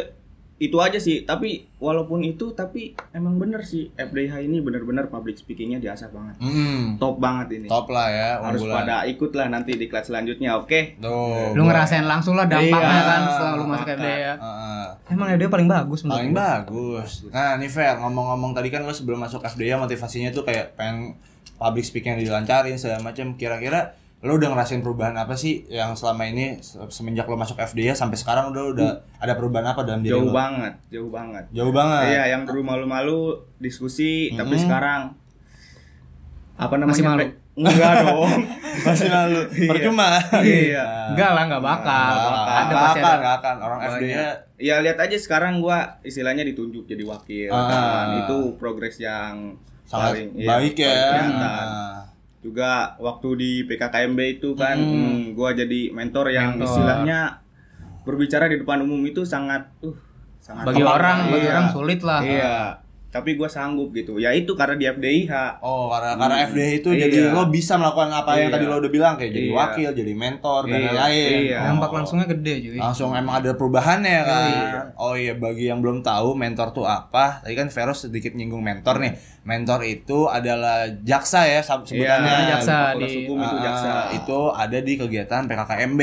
itu aja sih tapi walaupun itu tapi emang bener sih FDH ini bener-bener public speakingnya diasah banget
Hmm,
top banget ini
top lah ya
harus
unggulan.
pada ikut lah nanti di kelas selanjutnya oke
Tuh,
Lu ngerasain langsung lah dampaknya
Oh, Iya,
kan setelah lu masuk
dampaknya.
FDA.
Heeh.
Emang FDA paling bagus menurut
paling
gua.
bagus. Nah, nih Fer, ngomong-ngomong tadi kan lo sebelum masuk FDA motivasinya tuh kayak pengen public speaking dilancarin segala macam. Kira-kira lo udah ngerasain perubahan apa sih yang selama ini se- semenjak lo masuk FDA sampai sekarang udah udah ada perubahan apa dalam diri
Hmm.
lo?
jauh banget jauh banget
Jauh banget.
Iya, yang dulu malu-malu diskusi, tapi
Mm-mm.
sekarang apa namanya?
Masih malu?
Pe- Enggak dong.
Masih lalu. Percuma.
Iya.
Enggak lah, enggak bakal.
Nggak akan,
Ada
nggak
pasti
akan,
ada.
nggak akan. Orang
Banyak.
FDA
Ya lihat aja sekarang gua istilahnya ditunjuk jadi wakil.
Ah.
kan. Itu progres yang
sangat
paling- iya,
baik ya.
paling kelihatan.
Nah.
Juga waktu di PKKMB itu kan
Mm.
hmm, gua jadi mentor yang
Mentor.
istilahnya berbicara di depan umum itu sangat uh sangat
Bagi
tepat.
orang, bagi
Iya.
orang sulit lah.
Iya. Tapi gua sanggup gitu. Ya itu karena di FDIH.
Oh, karena karena
Hmm.
FDA itu
Iya.
jadi lo bisa melakukan apa yang
Iya.
tadi lo udah bilang kayak jadi
Iya.
wakil, jadi mentor dan
Iya.
lain-lain.
Iya.
Oh.
Dampak langsungnya gede cuy.
langsung emang ada perubahannya ya kan.
Iya.
Oh iya bagi yang belum tahu mentor tuh apa? Tadi kan Vero sedikit nyinggung mentor nih. Mentor itu adalah jaksa ya sab- sebutannya.
Iya, jaksa.
Fakultas
di-
hukum itu
Ah,
jaksa.
itu ada di kegiatan PKKMB.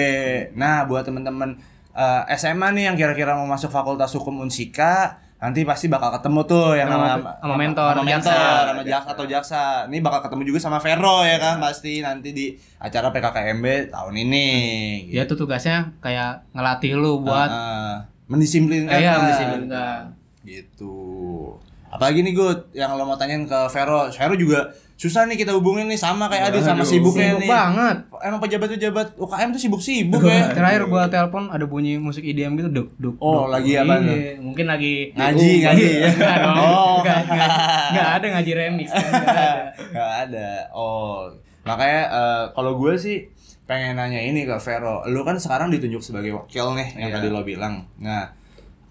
Nah, buat teman-teman eh, SMA nih yang kira-kira mau masuk Fakultas Hukum Unsika, nanti pasti bakal ketemu tuh yang
Sama-
nama-
sama mentor,
sama
jaksa.
mentor, sama jaksa atau jaksa. Ini bakal ketemu juga sama Vero ya kan pasti nanti di acara PKKMB tahun ini.
Dia tuh Ya, tugasnya kayak ngelatih lu buat
Ah, ah. mendisiplinkan.
kayak
kan.
Iya, mendisiplinkan.
Gitu. Apalagi nih Gut, yang lo mau tanyain ke Vero. Vero juga susah nih kita hubungin nih sama kayak Adit sama
Aduh.
sibuknya
Sibuk
nih.
banget.
Emang pejabat-pejabat UKM tuh sibuk-sibuk ya.
Terakhir gua telepon ada bunyi musik EDM gitu duk duk.
Oh,
duk.
lagi apa tuh?
Iya, Mungkin lagi Uh,
Ngaji, ngaji.
Enggak dong.
Oh.
Enggak, enggak. Enggak ada ngaji remix. kan, Enggak ada.
Gak ada. Oh, makanya eh, kalau gue sih pengen nanya ini ke Vero. Lu kan sekarang ditunjuk sebagai wakil nih yang
Iya.
tadi lo bilang. Nah,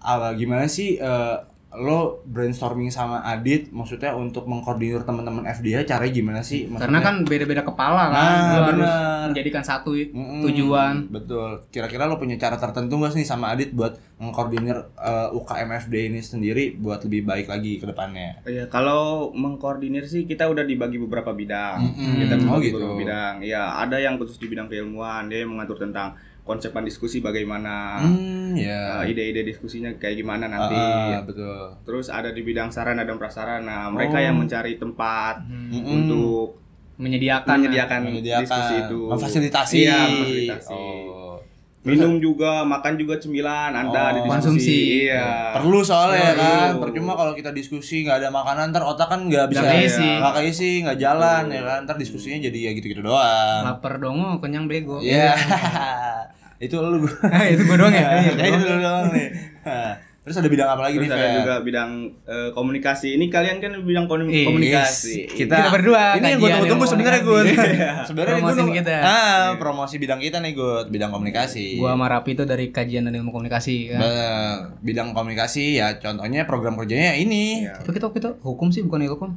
apa gimana sih eh, lo brainstorming sama Adit maksudnya untuk mengkoordinir teman-teman FDH caranya gimana sih? Maksudnya-
Karena kan beda-beda kepala kan.
Nah,
Lu harus
bener.
menjadikan satu
Mm-mm,
tujuan.
Betul. Kira-kira lo punya cara tertentu gak sih sama Adit buat mengkoordinir eh, UKM FDH ini sendiri buat lebih baik lagi ke depannya?
Iya, kalau mengkoordinir sih kita udah dibagi beberapa bidang.
Mm-mm.
Kita
Oh,
dibagi
gitu.
beberapa bidang. Ya, ada yang khusus di bidang keilmuan, dia yang mengatur tentang konsepan diskusi bagaimana,
Hmm, ya.
eh, ide-ide diskusinya kayak gimana Ah. nanti.
Ah,
kan
betul.
Terus ada di bidang sarana dan prasarana, mereka
Oh.
yang mencari tempat
Hmm.
Mm-mm.
untuk
Menyediakan.
menyediakan,
ya, menyediakan
diskusi itu.
memfasilitasi.
Iya, memfasilitasi.
Oh.
Minum juga, makan juga cemilan,
Oh.
Anda ada diskusi.
Konsumsi.
Iya.
Perlu soalnya ya
Perlu.
kan, percuma kalau kita diskusi nggak ada makanan ntar otak kan nggak bisa
Nggak keisi.
nggak keisi, nggak jalan
Betul.
ya kan, ntar diskusinya jadi ya gitu-gitu doang.
Lapar dongo, kenyang bego.
Iya, itu lu
Ah, itu gua doang ya?
Kayaknya
Iya,
lu doang nih. Hah. Terus ada bidang apa lagi
Terus
nih,
ada
Fer?
juga bidang eh, komunikasi. Ini kalian kan bidang komu-
Iya.
komunikasi.
Kita,
Kita
ini yang
berdua
gue
kajian
tunggu-tunggu
ilmu
sebenarnya
komunikasi.
Gun. sebenarnya gue
Promosin
nunggu-
kita.
Ah, promosi bidang kita nih Gun, bidang komunikasi.
Gua sama Rapi itu dari kajian dan ilmu komunikasi kan.
Bener. Bidang komunikasi ya contohnya program kerjanya ini. Ah,
Iya.
Tapi kita kita hukum sih bukan ilkom.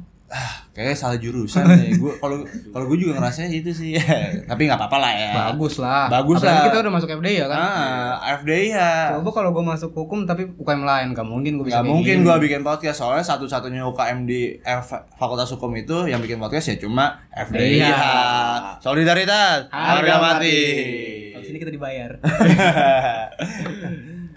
Kayaknya salah jurusan deh. Gua kalau kalau gue juga ngerasanya itu sih. Tapi nggak apa-apa lah ya.
Bagus lah.
Bagus lah.
Apalagi kita udah masuk FD ya kan.
Ah, AFDI ya.
Coba kalau gue masuk hukum tapi UKM lain gak mungkin gue bisa
Gak
kayak gitu.
mungkin
gini.
gue bikin podcast soalnya satu-satunya UKM di F- Fakultas Hukum itu yang bikin podcast ya cuma FDIH.
Iya.
Solidaritas
Harga
harga mati.
Habis ini kita dibayar.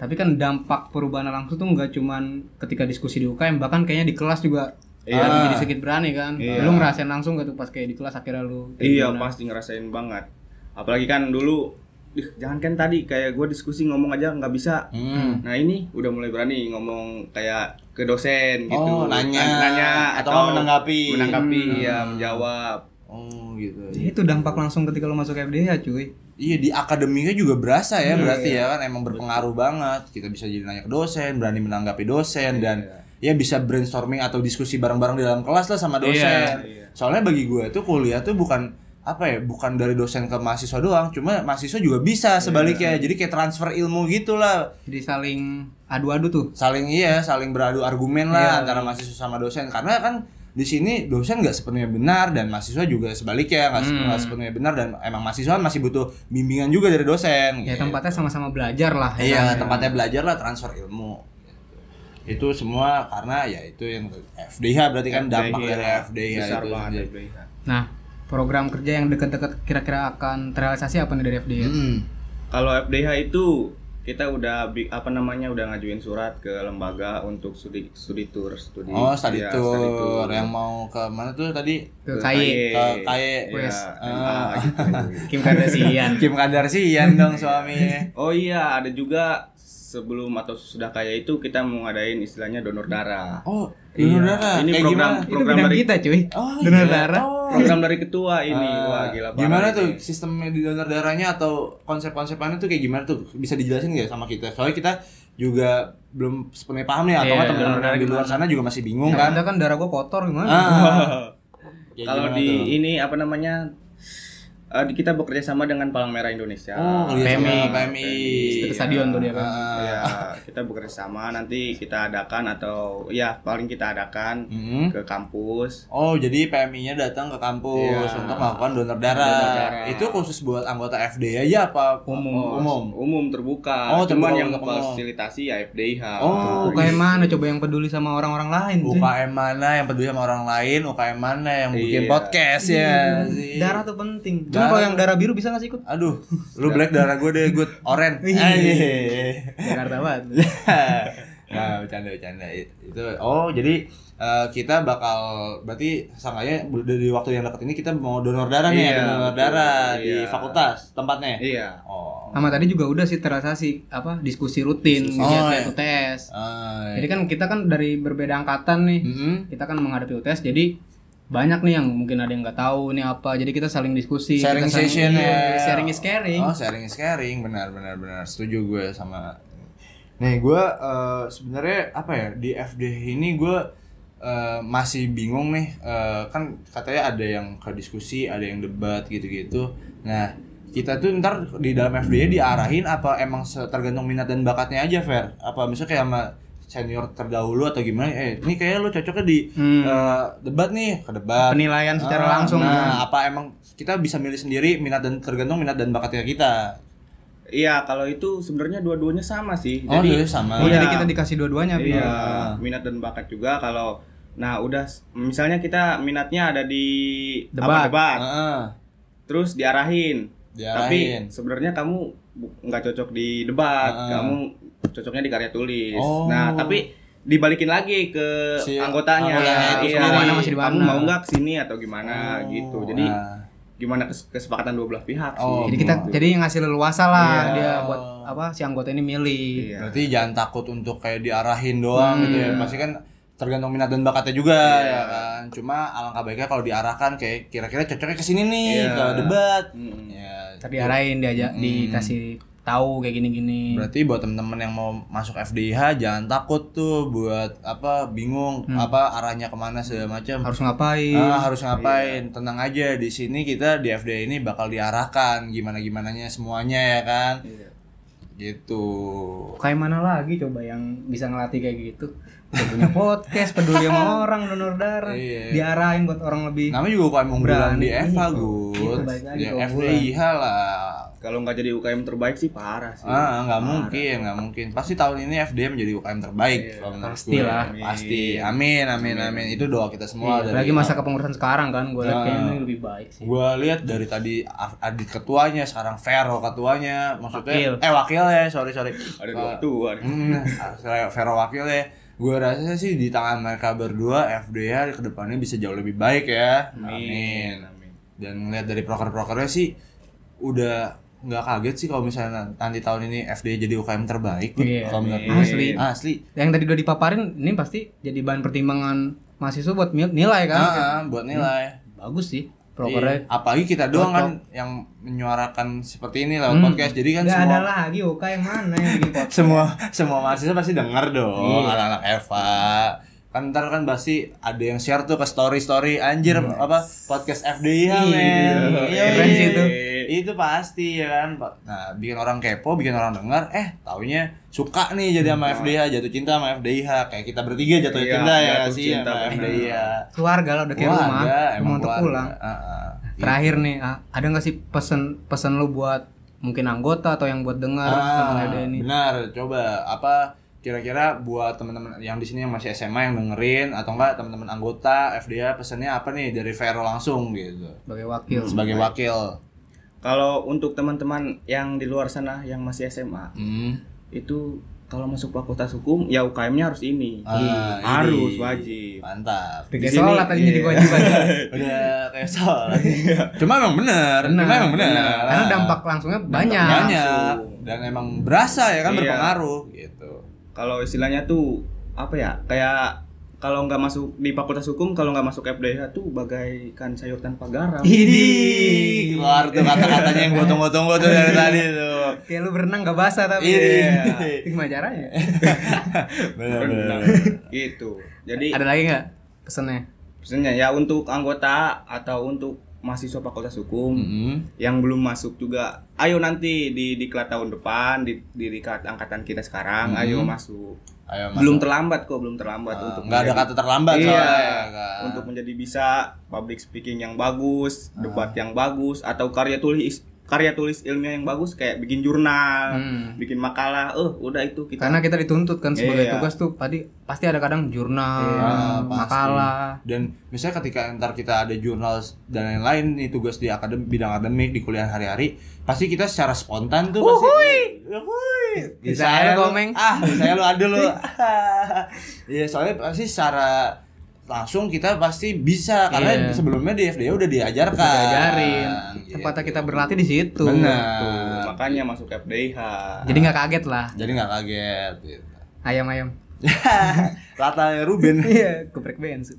tapi kan dampak perubahan langsung tuh nggak cuman ketika diskusi di UKM bahkan kayaknya di kelas juga
Iya.
ah, jadi sedikit berani kan.
Iya.
Lu ngerasain langsung gak tuh pas kayak di kelas akhirnya lu kayak
Iya
gimana?
pasti ngerasain banget. Apalagi kan dulu, "Ih, jangankan tadi kayak gue diskusi ngomong aja nggak bisa.
Hmm.
Nah ini udah mulai berani ngomong kayak ke dosen gitu.
Oh, nanya,
Nah, nanya
atau, nggak menanggapi.
menanggapi,
Hmm.
ya menjawab.
Oh, gitu.
Itu dampak langsung ketika lu masuk FD ya cuy.
Iya di akademiknya juga berasa ya
Hmm,
berarti
iya.
ya kan emang berpengaruh banget. Kita bisa jadi nanya ke dosen, berani menanggapi dosen
Iya,
dan ya bisa brainstorming atau diskusi bareng-bareng di dalam kelas lah sama dosen.
iya.
Soalnya bagi gue tuh kuliah tuh bukan apa ya bukan dari dosen ke mahasiswa doang, cuma mahasiswa juga bisa
Iya.
sebaliknya. Jadi kayak transfer ilmu gitulah.
Jadi saling adu-adu tuh.
Saling iya, saling beradu argumen lah
Iya.
antara mahasiswa sama dosen karena kan di sini dosen nggak sepenuhnya benar dan mahasiswa juga sebaliknya nggak se-
Hmm.
nggak sepenuhnya benar dan emang mahasiswa masih butuh bimbingan juga dari dosen.
Ya
Iya,
gitu.
tempatnya sama-sama belajar lah. ya
Iya,
kan?
tempatnya belajar lah transfer ilmu. gitu. Itu semua karena ya itu yang FDH berarti kan dampak dari FDH
iya. besar
itu.
banget
sendiri.
FDIH.
Nah, program kerja yang dekat-dekat kira-kira akan terrealisasi apa nih dari FD?
Mm-mm.
Kalau FDH itu kita udah bi- apa namanya udah ngajuin surat ke lembaga untuk studi studi tour studi
Oh, tadi
ya,
tour
study tour.
yang mau ke mana tuh tadi?
Ke KAI
Ke Iya, KAI.
ya,
Wes.
MA gitu.
Kim Kardashian.
Kim Kardashian dong suaminya.
oh iya ada juga sebelum atau sudah kaya itu kita mau ngadain istilahnya donor darah
Oh, donor darah.
Iya, ini
Kayak
program
gimana?
Itu
program
bidang
dari
kita cuy.
Oh,
Donor
iya.
darah.
Oh.
program dari ketua ini
Ah,
wah gila parah
gimana
ini.
tuh sistemnya di donor darahnya atau konsep-konsepannya tuh kayak gimana tuh bisa dijelasin nggak sama kita soalnya kita juga belum sepenuhnya paham nih atau
Iya,
nggak teman-teman
donor darah
yang di luar sana juga masih bingung kan
Kan? Ada kan darah gua kotor gimana?
Ah. Kayak
kalau
gimana
di
tuh?
ini apa namanya eh, di- kita bekerja sama dengan Palang Merah Indonesia
oh, kerja sama
PMI.
PMI.
Ke stadion tuh dia kan.
Ah.
ya kita bekerja sama nanti kita adakan atau ya paling kita adakan
Mm-mm.
ke kampus
Mm-hmm. Oh, jadi PMI-nya datang ke kampus
Iya.
untuk melakukan donor
Donor
darah.
darah.
Itu khusus buat anggota FD aja apa
Umum.
Oh, umum?
umum terbuka
Oh,
cuman
terbuka
yang
untuk umum.
fasilitasi ya FDIH
Oh,
Gitu.
UKM mana coba yang peduli sama orang-orang lain cuy.
UKM mana yang peduli sama orang lain, UKM mana yang bikin
Iya.
podcast ya. sih.
Darah tuh penting.
Darah.
Cuma kalau yang darah biru bisa gak sih ikut?
Aduh, lu black darah gue deh, good oren.
Iya,
Jakarta banget.
nah, bercanda bercanda itu. Oh, jadi eh, kita bakal berarti sangkanya dari waktu yang dekat ini kita mau donor darah nih,
Iya,
ada donor
betul.
darah di
Iya.
fakultas tempatnya.
iya
Oh.
Sama tadi juga udah sih terrealisasi apa diskusi rutin
Diskusi. Oh, iya.
lihat UTS.
Ah,
Jadi kan kita kan dari berbeda angkatan nih.
eh, mm-mm.
Kita kan menghadapi UTS jadi banyak nih yang mungkin ada yang nggak tahu ini apa. Jadi kita saling diskusi,
Sharing
kita saling-
session
iya,
ya.
Sharing is caring.
Oh, sharing is caring, benar benar benar. Setuju gue sama Nih, gue eh, sebenarnya apa ya di FD ini gue eh, masih bingung nih. Eh, kan katanya ada yang ke diskusi, ada yang debat gitu-gitu. Nah, kita tuh ntar di dalam FD diarahin apa emang se- tergantung minat dan bakatnya aja, Fer? Apa misalnya kayak sama senior terdahulu atau gimana? Eh, ini kayaknya lu cocoknya di
Hmm.
eh, debat nih, ke debat.
Penilaian Kan secara
Ah,
langsung.
Nah, apa emang kita bisa milih sendiri minat dan tergantung minat dan bakatnya kita.
iya kalau itu sebenarnya dua-duanya sama sih
Oh,
jadi
jadi sama.
Oh,
Iya.
jadi kita dikasih dua-duanya Bi.
iya minat dan bakat juga kalau nah udah s- misalnya kita minatnya ada di apa,
Debat.
debat
Heeh.
terus diarahin tapi
Diarahin.
sebenarnya kamu bu- nggak cocok di debat
Heeh.
kamu cocoknya di karya tulis
Oh.
nah tapi dibalikin lagi ke
Si
anggotanya,
anggotanya itu
iya,
sendiri.
Mana masih di
kamu
mana.
mau nggak kesini atau gimana
Oh,
gitu jadi
nah.
gimana kes- kesepakatan dua belah pihak
Oh,
sih
Jadi kita
Gitu.
jadi ngasih leluasa lah
Iya.
dia buat apa si anggota ini milih.
Iya.
berarti jangan takut untuk kayak diarahin doang
Hmm.
gitu ya. Pasti kan tergantung minat dan bakatnya juga
Iya.
ya kan. Cuma alangkah baiknya kalau diarahkan kayak kira-kira cocoknya ke sini nih,
Iya.
ke debat.
Mm-mm.
Ya,
Terdiarahin diajak
Hmm.
dikasih tahu kayak gini-gini.
Berarti buat temen-temen yang mau masuk FDIH jangan takut tuh buat apa bingung
Hmm.
apa arahnya kemana segala macam.
Harus iya. ngapain?
Ah, harus ngapain? Tenang aja di sini kita di FDIH ini bakal diarahkan gimana gimananya semuanya ya kan.
Iya.
Gitu.
Kayak mana lagi coba yang bisa ngelatih kayak gitu? Udah punya podcast, peduli sama orang, donor darah,
Iya. Nah,
diarahin buat orang lebih.
Namanya juga UKM unggulan
Berani.
di Eva,
Iya,
Gut.
balik lagi
Ya,
ke unggulan.
FDIH lah.
Kalau nggak jadi UKM terbaik sih parah sih.
Ah, nggak
Parah.
mungkin, nggak mungkin. Pasti tahun ini FDM menjadi UKM terbaik.
Iya,
kalau menurut
pasti
gue.
lah.
Pasti. Amin, amin, amin. Itu doa kita semua.
Iya,
dari-
Apalagi masa kepengurusan sekarang kan, gue liat
Ah.
kayaknya ini lebih baik sih.
Gua lihat dari tadi Af- Adit ketuanya, sekarang Vero ketuanya,
Wakil.
maksudnya eh wakilnya, sorry sorry.
Ada
Eh,
dua tua nih.
Hmm, saya- Vero wakilnya. Gue rasa sih di tangan mereka berdua FDH kedepannya bisa jauh lebih baik ya. Amin. Dan ngeliat dari proker-prokernya sih udah nggak kaget sih kalau misalnya nanti tahun ini FDH jadi UKM terbaik.
Iya,
kalau menurut
amin.
gue.
Asli.
Asli.
Yang tadi udah dipaparin, ini pasti jadi bahan pertimbangan mahasiswa buat mil- nilai kan?
Ah, ah, buat nilai.
Bagus sih,
Iya.
prokernya.
Apalagi kita doang
Cocok.
kan yang menyuarakan seperti ini lewat
Hmm.
podcast. Jadi kan
Nggak
semua
ada lagi Oka yang mana yang bikin podcast.
semua semua mahasiswa pasti dengar dong
Iya.
anak-anak Eva kan ntar kan pasti ada yang share tuh ke story story anjir apa podcast FDI ya
Iya,
men
iya.
Yoi.
Keren sih itu.
iya.
itu pasti ya kan nah bikin orang kepo bikin orang dengar eh taunya suka nih jadi sama
Iya.
FDH jatuh cinta sama FDIH kayak kita bertiga jatuh
Iya,
cinta ya
jatuh
sih
cinta,
sama
bener.
FDIH
Keluarga lah udah kayak
Keluarga,
rumah,
emang
rumah untuk
keluarga. Iya.
pulang.
Heeh.
Terakhir nih, ah, ada nggak sih pesan pesan lu buat mungkin anggota atau yang buat dengar tentang
Ah,
ada ini?
benar coba apa kira-kira buat teman-teman yang di sini yang masih SMA yang dengerin atau enggak teman-teman anggota FDA pesannya apa nih dari Vero langsung gitu
Sebagai wakil.
sebagai wakil
Kalau untuk teman-teman yang di luar sana yang masih SMA
hmm.
itu kalau masuk fakultas hukum ya UKM-nya harus ini.
Ah, ini.
harus wajib.
mantap
Udah
Di
kayak
sini,
sholat tadi jadi
iya.
kewajiban.
udah kayak soal cuma emang benar cuma emang benar
benar. Karena dampak langsungnya banyak.
banyak
langsung.
dan emang berasa ya kan
Iya.
berpengaruh gitu
Kalau istilahnya tuh apa ya? Kayak kalau nggak masuk di fakultas hukum, kalau nggak masuk FDH tuh bagaikan sayur tanpa garam.
Idi.
Ih, keluar tuh kata-katanya yang gue tunggu-tunggu tuh dari tadi tuh
Kayak lu berenang gak basah tapi.
Iya.
Itu Gimana caranya?
benar
gitu.
Iya.
Jadi
ada lagi nggak pesannya?
pesannya ya untuk anggota atau untuk mahasiswa fakultas hukum
Hmm.
yang belum masuk juga ayo nanti di diklat tahun depan di di diklat angkatan kita sekarang
Mhm.
ayo masuk
Ayo, Mas.
belum terlambat kok belum terlambat
Ah,
untuk
nggak ada kata
menjadi-
terlambat
Iya,
soalnya kan.
untuk menjadi bisa public speaking yang bagus
Ah.
debat yang bagus atau karya tulis karya tulis ilmiah yang bagus kayak bikin jurnal
Hmm.
bikin makalah eh udah itu kita
Karena kita dituntut kan sebagai
Iya.
tugas tuh padi- pasti ada kadang jurnal,
Iya, pasti.
makalah.
dan misalnya ketika ntar kita ada jurnal dan lain-lain nih tugas di akademik bidang akademik di kuliah hari-hari pasti kita secara spontan tuh pasti Uhuy.
Bisa aja,
lu-
Komeng.
ah bisa aja lu ada lu iya soalnya pasti secara langsung kita pasti bisa karena
Iya.
sebelumnya di FDA udah diajarkan
Diajarin.
Gitu.
Tempatnya kita berlatih di situ.
Tuh,
Iya. benar
makanya masuk FDIH
Jadi nggak kaget lah
jadi nggak kaget gitu.
ayam-ayam.
Latanya Ruben
Iya, geprek Benz.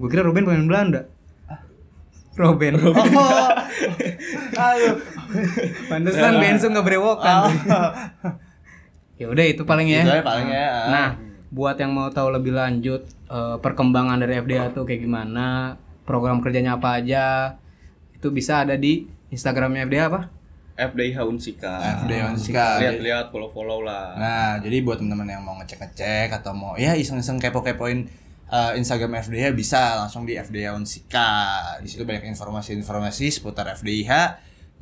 Gue kira Ruben pemain Belanda.
Ah.
Robben.
Oh, aduh.
Pantesan Benz nggak berewokan. ya udah itu paling ya.
Ah. Itu aja paling ya.
Nah, buat yang mau tahu lebih lanjut eh, perkembangan dari FDA tuh kayak gimana, program kerjanya apa aja, itu bisa ada di Instagramnya FDA apa?
FDIH Unsika
FD Onska. iya.
lihat-lihat follow-follow lah
Nah, jadi buat teman-teman yang mau ngecek-ngecek atau mau ya iseng-iseng kepo-kepoin eh, Instagram FDH bisa langsung di FDH Unsika. Di situ banyak informasi-informasi seputar FDIH.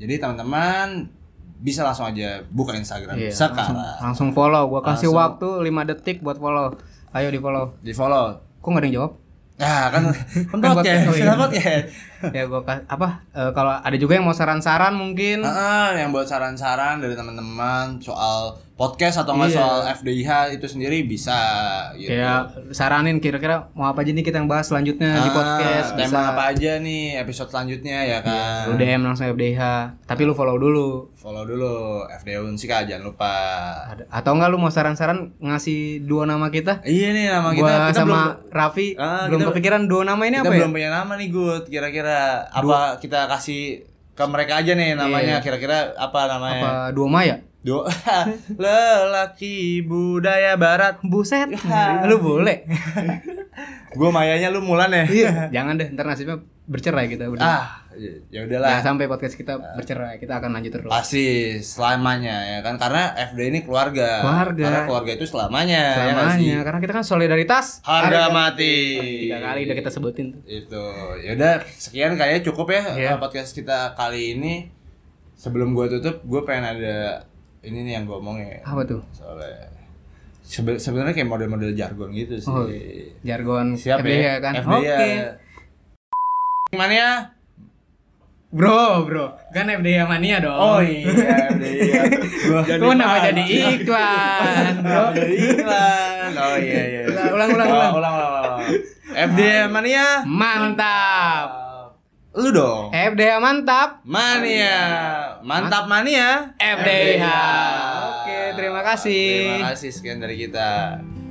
Jadi teman-teman bisa langsung aja buka Instagram
Iya, langsung,
sekarang.
langsung follow. Gua kasih
Langsung.
waktu 5 detik buat follow. Ayo di follow.
Di follow.
Kok nggak ada yang jawab?
Ya kan kan
Kan podcast,
podcast,
oh iya.
kan podcast.
ya gua ka- apa? eh, kalau ada juga yang mau saran-saran mungkin.
Heeh, Ah, yang buat saran-saran dari teman-teman soal podcast atau enggak
Iya.
soal FDIH itu sendiri bisa gitu.
Kayak Ya, saranin kira-kira mau apa aja nih kita yang bahas selanjutnya di
Ah,
podcast.
tema
bisa. Iya,
apa aja nih episode selanjutnya ya kan.
Lu DM langsung FDH, tapi lu follow dulu.
Follow dulu FD Unsika ah, jangan lupa.
Ada- Atau enggak lu mau saran-saran ngasih dua nama kita?
Iya nih nama kita
Gua
kita
sama
belum
Raffi
Ah,
belum
kita-
kepikiran dua nama ini
kita
apa ya?
belum punya nama nih Gut. Kira-kira apa kita kasih ke mereka aja nih namanya kira-kira apa namanya?
Iya. Apa dua ya? Maya?
Doa lelaki budaya barat.
Buset,
Ya.
lu boleh.
Gua mayanya lu Mulan ya.
Iya, jangan deh, ntar nasibnya bercerai kita berdua.
Ah, ya- ya udahlah.
Jangan sampai podcast kita bercerai, kita akan
Ah,
lanjut terus.
Pasti selamanya ya kan karena FD ini keluarga.
Keluarga.
Karena keluarga itu selamanya. ya nggak sih?
Selamanya, karena kita kan solidaritas.
Harga mati.
Tiga kali udah kita sebutin. tuh.
itu yaudah sekian kayaknya cukup ya
Iya.
eh, podcast kita kali ini sebelum gue tutup gue pengen ada ini nih yang gue omongin
Apa tuh?
soalnya sebe- sebenarnya kayak model-model jargon gitu sih
Oh, iya. Jargon
siap
FBA
ya
kan.
FBA.
Oke.
Gimana ya?
Bro, bro. Kan FDA mania dong.
Oh iya, FDA. Gua
Itu nama jadi iklan, bro.
Jadi iklan. Oh iya iya.
Iya, Ulang, ulang,
Oh,
ulang.
ulang, ulang, ulang. FDA mania.
Mantap.
Lu dong.
FDA mantap.
Mania. Mantap mania.
FDH.
FDH.
Oke, terima kasih.
Terima kasih sekian dari kita.